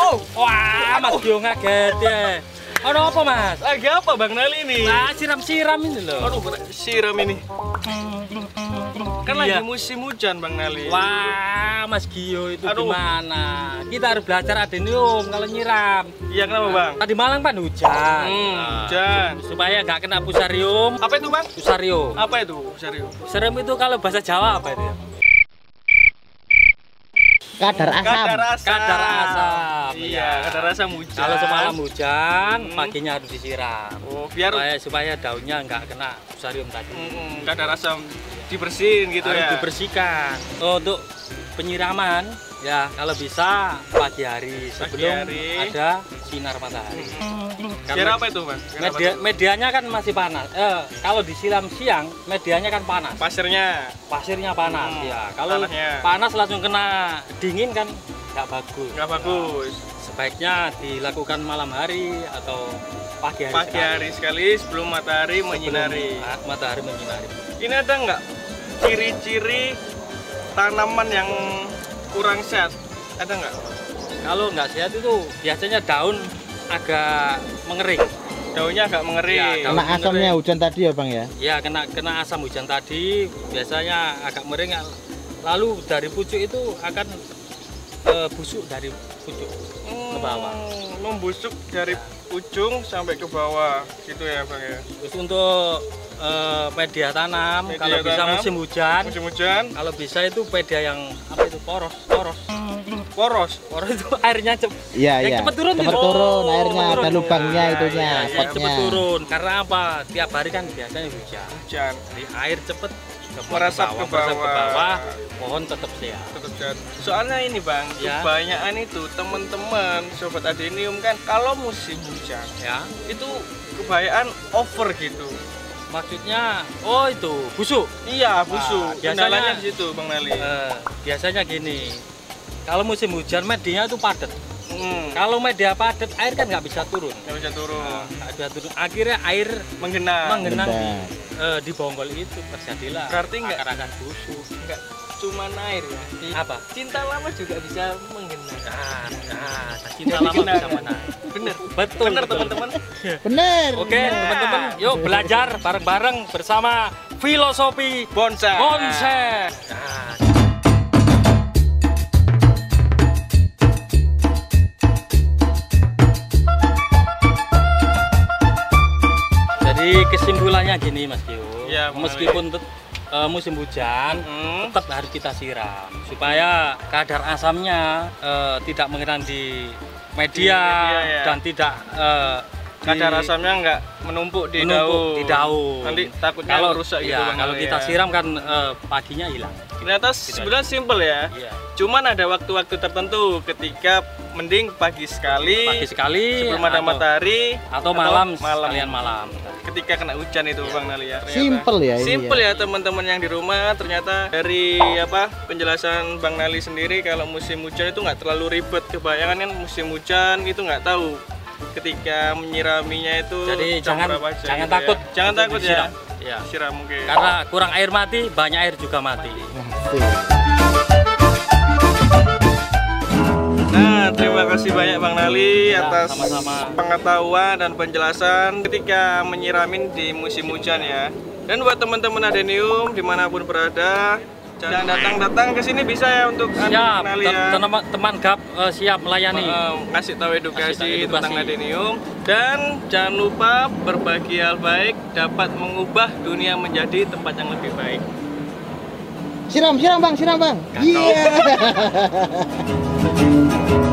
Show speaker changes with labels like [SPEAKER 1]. [SPEAKER 1] oh, yo ngaget ya. Ono apa Mas?
[SPEAKER 2] Lagi apa Bang Nali ini?
[SPEAKER 1] Lah siram-siram ini loh.
[SPEAKER 2] Aduh, kena siram ini. Kan lagi
[SPEAKER 1] Iya.
[SPEAKER 2] musim hujan Bang Nali.
[SPEAKER 1] Wah, Mas Gio itu
[SPEAKER 2] Aduh.
[SPEAKER 1] gimana? Kita harus belajar adenium kalau nyiram.
[SPEAKER 2] Iya kenapa Bang?
[SPEAKER 1] Tadi malam kan hujan.
[SPEAKER 2] Hmm,
[SPEAKER 1] Nah,
[SPEAKER 2] hujan.
[SPEAKER 1] supaya nggak kena pusarium.
[SPEAKER 2] Apa itu Bang?
[SPEAKER 1] Pusarium.
[SPEAKER 2] Apa itu? Serius.
[SPEAKER 1] Serem itu kalau bahasa Jawa apa itu ya?
[SPEAKER 2] Kadar
[SPEAKER 3] kadar asam
[SPEAKER 2] asam.
[SPEAKER 1] Kadar asam.
[SPEAKER 2] Iya, kadar asam hujan.
[SPEAKER 1] Kalau semalam hujan,
[SPEAKER 2] Hmm.
[SPEAKER 1] paginya harus disiram.
[SPEAKER 2] Oh, biar
[SPEAKER 1] Supaya, supaya daunnya nggak kena pusarium tadi.
[SPEAKER 2] Mm, kadar asam dibersihin gitu
[SPEAKER 1] harus
[SPEAKER 2] ya.
[SPEAKER 1] dibersihkan. Oh, Untuk penyiraman ya kalau bisa pagi hari sebelum
[SPEAKER 2] hari. Hmm.
[SPEAKER 1] ada sinar matahari.
[SPEAKER 2] Biar
[SPEAKER 1] Karena
[SPEAKER 2] apa itu Bang? Biar apa
[SPEAKER 1] media,
[SPEAKER 2] itu?
[SPEAKER 1] medianya kan masih panas. Eh, kalau disiram siang, medianya kan panas.
[SPEAKER 2] Pasirnya.
[SPEAKER 1] Pasirnya panas
[SPEAKER 2] Hmm,
[SPEAKER 1] ya. Kalau
[SPEAKER 2] tanahnya.
[SPEAKER 1] panas langsung kena dingin kan nggak bagus. Nah,
[SPEAKER 2] nggak bagus.
[SPEAKER 1] Sebaiknya dilakukan malam hari atau pagi hari.
[SPEAKER 2] Pagi
[SPEAKER 1] Iya, sekali.
[SPEAKER 2] hari sekali sebelum matahari
[SPEAKER 1] Sebelum
[SPEAKER 2] menyinari.
[SPEAKER 1] ma- matahari menyinari.
[SPEAKER 2] Ini ada nggak ciri-ciri tanaman yang kurang sehat? Ada nggak?
[SPEAKER 1] Kalau nggak sehat itu biasanya daun agak mengering.
[SPEAKER 2] Daunnya agak mengering.
[SPEAKER 1] Ya,
[SPEAKER 3] kena
[SPEAKER 1] Bener,
[SPEAKER 3] asamnya
[SPEAKER 1] ya.
[SPEAKER 3] hujan tadi ya bang ya
[SPEAKER 1] Ya kena kena asam hujan tadi biasanya agak mering lalu dari pucuk itu akan eh, busuk dari pucuk.
[SPEAKER 2] Hmm,
[SPEAKER 1] ke bawah.
[SPEAKER 2] Membusuk dari
[SPEAKER 1] Ya.
[SPEAKER 2] ujung sampai ke bawah gitu ya bang ya.
[SPEAKER 1] Terus untuk eh, media tanam
[SPEAKER 2] Media
[SPEAKER 1] kalau bisa
[SPEAKER 2] tanam.
[SPEAKER 1] musim hujan
[SPEAKER 2] Musim hujan
[SPEAKER 1] kalau bisa itu media yang apa itu poros poros
[SPEAKER 2] poros.
[SPEAKER 1] poros itu airnya cep-
[SPEAKER 3] iya
[SPEAKER 1] Yang
[SPEAKER 3] iya
[SPEAKER 1] Ya, cepet turun
[SPEAKER 3] cepet
[SPEAKER 1] itu.
[SPEAKER 3] turun
[SPEAKER 1] Oh,
[SPEAKER 3] airnya
[SPEAKER 1] cepet
[SPEAKER 3] ada
[SPEAKER 1] turun. Ya,
[SPEAKER 3] lubangnya
[SPEAKER 2] Nah,
[SPEAKER 3] itunya
[SPEAKER 2] iya, iya,
[SPEAKER 3] potnya
[SPEAKER 1] cepet turun karena apa tiap hari kan biasanya hujan
[SPEAKER 2] Hujan.
[SPEAKER 1] jadi air cepet ke
[SPEAKER 2] Meresap ke
[SPEAKER 1] meresap ke
[SPEAKER 2] bawah.
[SPEAKER 1] bawah pohon tetap sehat
[SPEAKER 2] Tetap sehat. Soalnya ini bang,
[SPEAKER 1] Ya.
[SPEAKER 2] kebanyakan itu teman-teman sobat adenium kan kalau musim hujan
[SPEAKER 1] ya
[SPEAKER 2] itu kebanyakan over gitu.
[SPEAKER 1] maksudnya oh itu busuk
[SPEAKER 2] Iya busuk.
[SPEAKER 1] Nah, biasanya-
[SPEAKER 2] Kendalanya di situ bang Nali.
[SPEAKER 1] Eh, biasanya gini kalau musim hujan medianya itu padat
[SPEAKER 2] Hmm.
[SPEAKER 1] kalau media padat air kan nggak bisa turun
[SPEAKER 2] Nggak bisa turun.
[SPEAKER 1] Nah, nggak bisa turun akhirnya air
[SPEAKER 2] Menggenang.
[SPEAKER 1] menggenang di,
[SPEAKER 3] Benar.
[SPEAKER 1] eh, di bonggol itu terjadilah
[SPEAKER 2] Berarti nggak-
[SPEAKER 1] akar-akar busuk
[SPEAKER 2] Nggak cuma air ya.
[SPEAKER 1] apa
[SPEAKER 2] Cinta lama juga bisa menggenang.
[SPEAKER 1] nah, nah cinta lama bisa menang
[SPEAKER 2] Bener.
[SPEAKER 1] betul
[SPEAKER 2] Bener
[SPEAKER 1] betul.
[SPEAKER 2] teman-teman.
[SPEAKER 3] bener
[SPEAKER 1] Oke, teman-teman, yuk belajar bareng-bareng bersama filosofi
[SPEAKER 2] Bonsai.
[SPEAKER 1] bonsai. Nah, Jadi kesimpulannya gini Mas Kio,
[SPEAKER 2] Iya, Bang
[SPEAKER 1] meskipun tet- eh, musim hujan
[SPEAKER 2] Hmm.
[SPEAKER 1] tetap harus kita siram supaya kadar asamnya eh, tidak mengenang di media,
[SPEAKER 2] Di media, ya.
[SPEAKER 1] dan tidak eh, di-
[SPEAKER 2] Kadar asamnya nggak menumpuk di
[SPEAKER 1] menumpuk
[SPEAKER 2] daun.
[SPEAKER 1] di daun.
[SPEAKER 2] Nanti takutnya
[SPEAKER 1] kalau
[SPEAKER 2] rusak
[SPEAKER 1] iya,
[SPEAKER 2] gitu Bang
[SPEAKER 1] kalau
[SPEAKER 2] Nali
[SPEAKER 1] kita
[SPEAKER 2] ya.
[SPEAKER 1] siram kan eh, paginya hilang.
[SPEAKER 2] Ternyata sebenarnya simpel ya.
[SPEAKER 1] Iya.
[SPEAKER 2] Cuman ada waktu-waktu tertentu ketika mending pagi sekali,
[SPEAKER 1] Pagi sekali
[SPEAKER 2] sebelum ada
[SPEAKER 1] atau-
[SPEAKER 2] matahari
[SPEAKER 1] atau malam,
[SPEAKER 2] malam
[SPEAKER 1] sekalian malam.
[SPEAKER 2] ketika kena hujan itu Bang Nali ya. ternyata.
[SPEAKER 3] Simple ya ini
[SPEAKER 2] Simple ya teman-teman yang di rumah ternyata dari apa penjelasan Bang Nali sendiri kalau musim hujan itu nggak terlalu ribet kebayangan kan musim hujan itu nggak tahu ketika menyiraminya itu
[SPEAKER 1] Jadi
[SPEAKER 2] jam
[SPEAKER 1] jangan
[SPEAKER 2] berapa aja
[SPEAKER 1] jangan
[SPEAKER 2] gitu ya.
[SPEAKER 1] takut.
[SPEAKER 2] jangan
[SPEAKER 1] untuk
[SPEAKER 2] takut ya
[SPEAKER 1] disiram. Iya.
[SPEAKER 2] siram mungkin
[SPEAKER 1] Karena kurang air mati, banyak air juga mati.
[SPEAKER 3] Asik.
[SPEAKER 2] Nah, terima kasih banyak Bang Nali
[SPEAKER 1] Ya,
[SPEAKER 2] atas
[SPEAKER 1] sama-sama.
[SPEAKER 2] pengetahuan dan penjelasan ketika menyiramin di musim hujan ya. Dan buat teman-teman Adenium dimanapun berada, jangan datang-datang ke sini bisa ya untuk anu
[SPEAKER 1] Siap,
[SPEAKER 2] Bang Nali ya.
[SPEAKER 1] teman teman gap eh, siap melayani.
[SPEAKER 2] Eh, ngasih tahu edukasi,
[SPEAKER 1] Ngasih tahu
[SPEAKER 2] tentang
[SPEAKER 1] edukasi.
[SPEAKER 2] adenium dan jangan lupa berbagi hal baik dapat mengubah dunia menjadi tempat yang lebih baik.
[SPEAKER 3] siram siram bang siram bang iya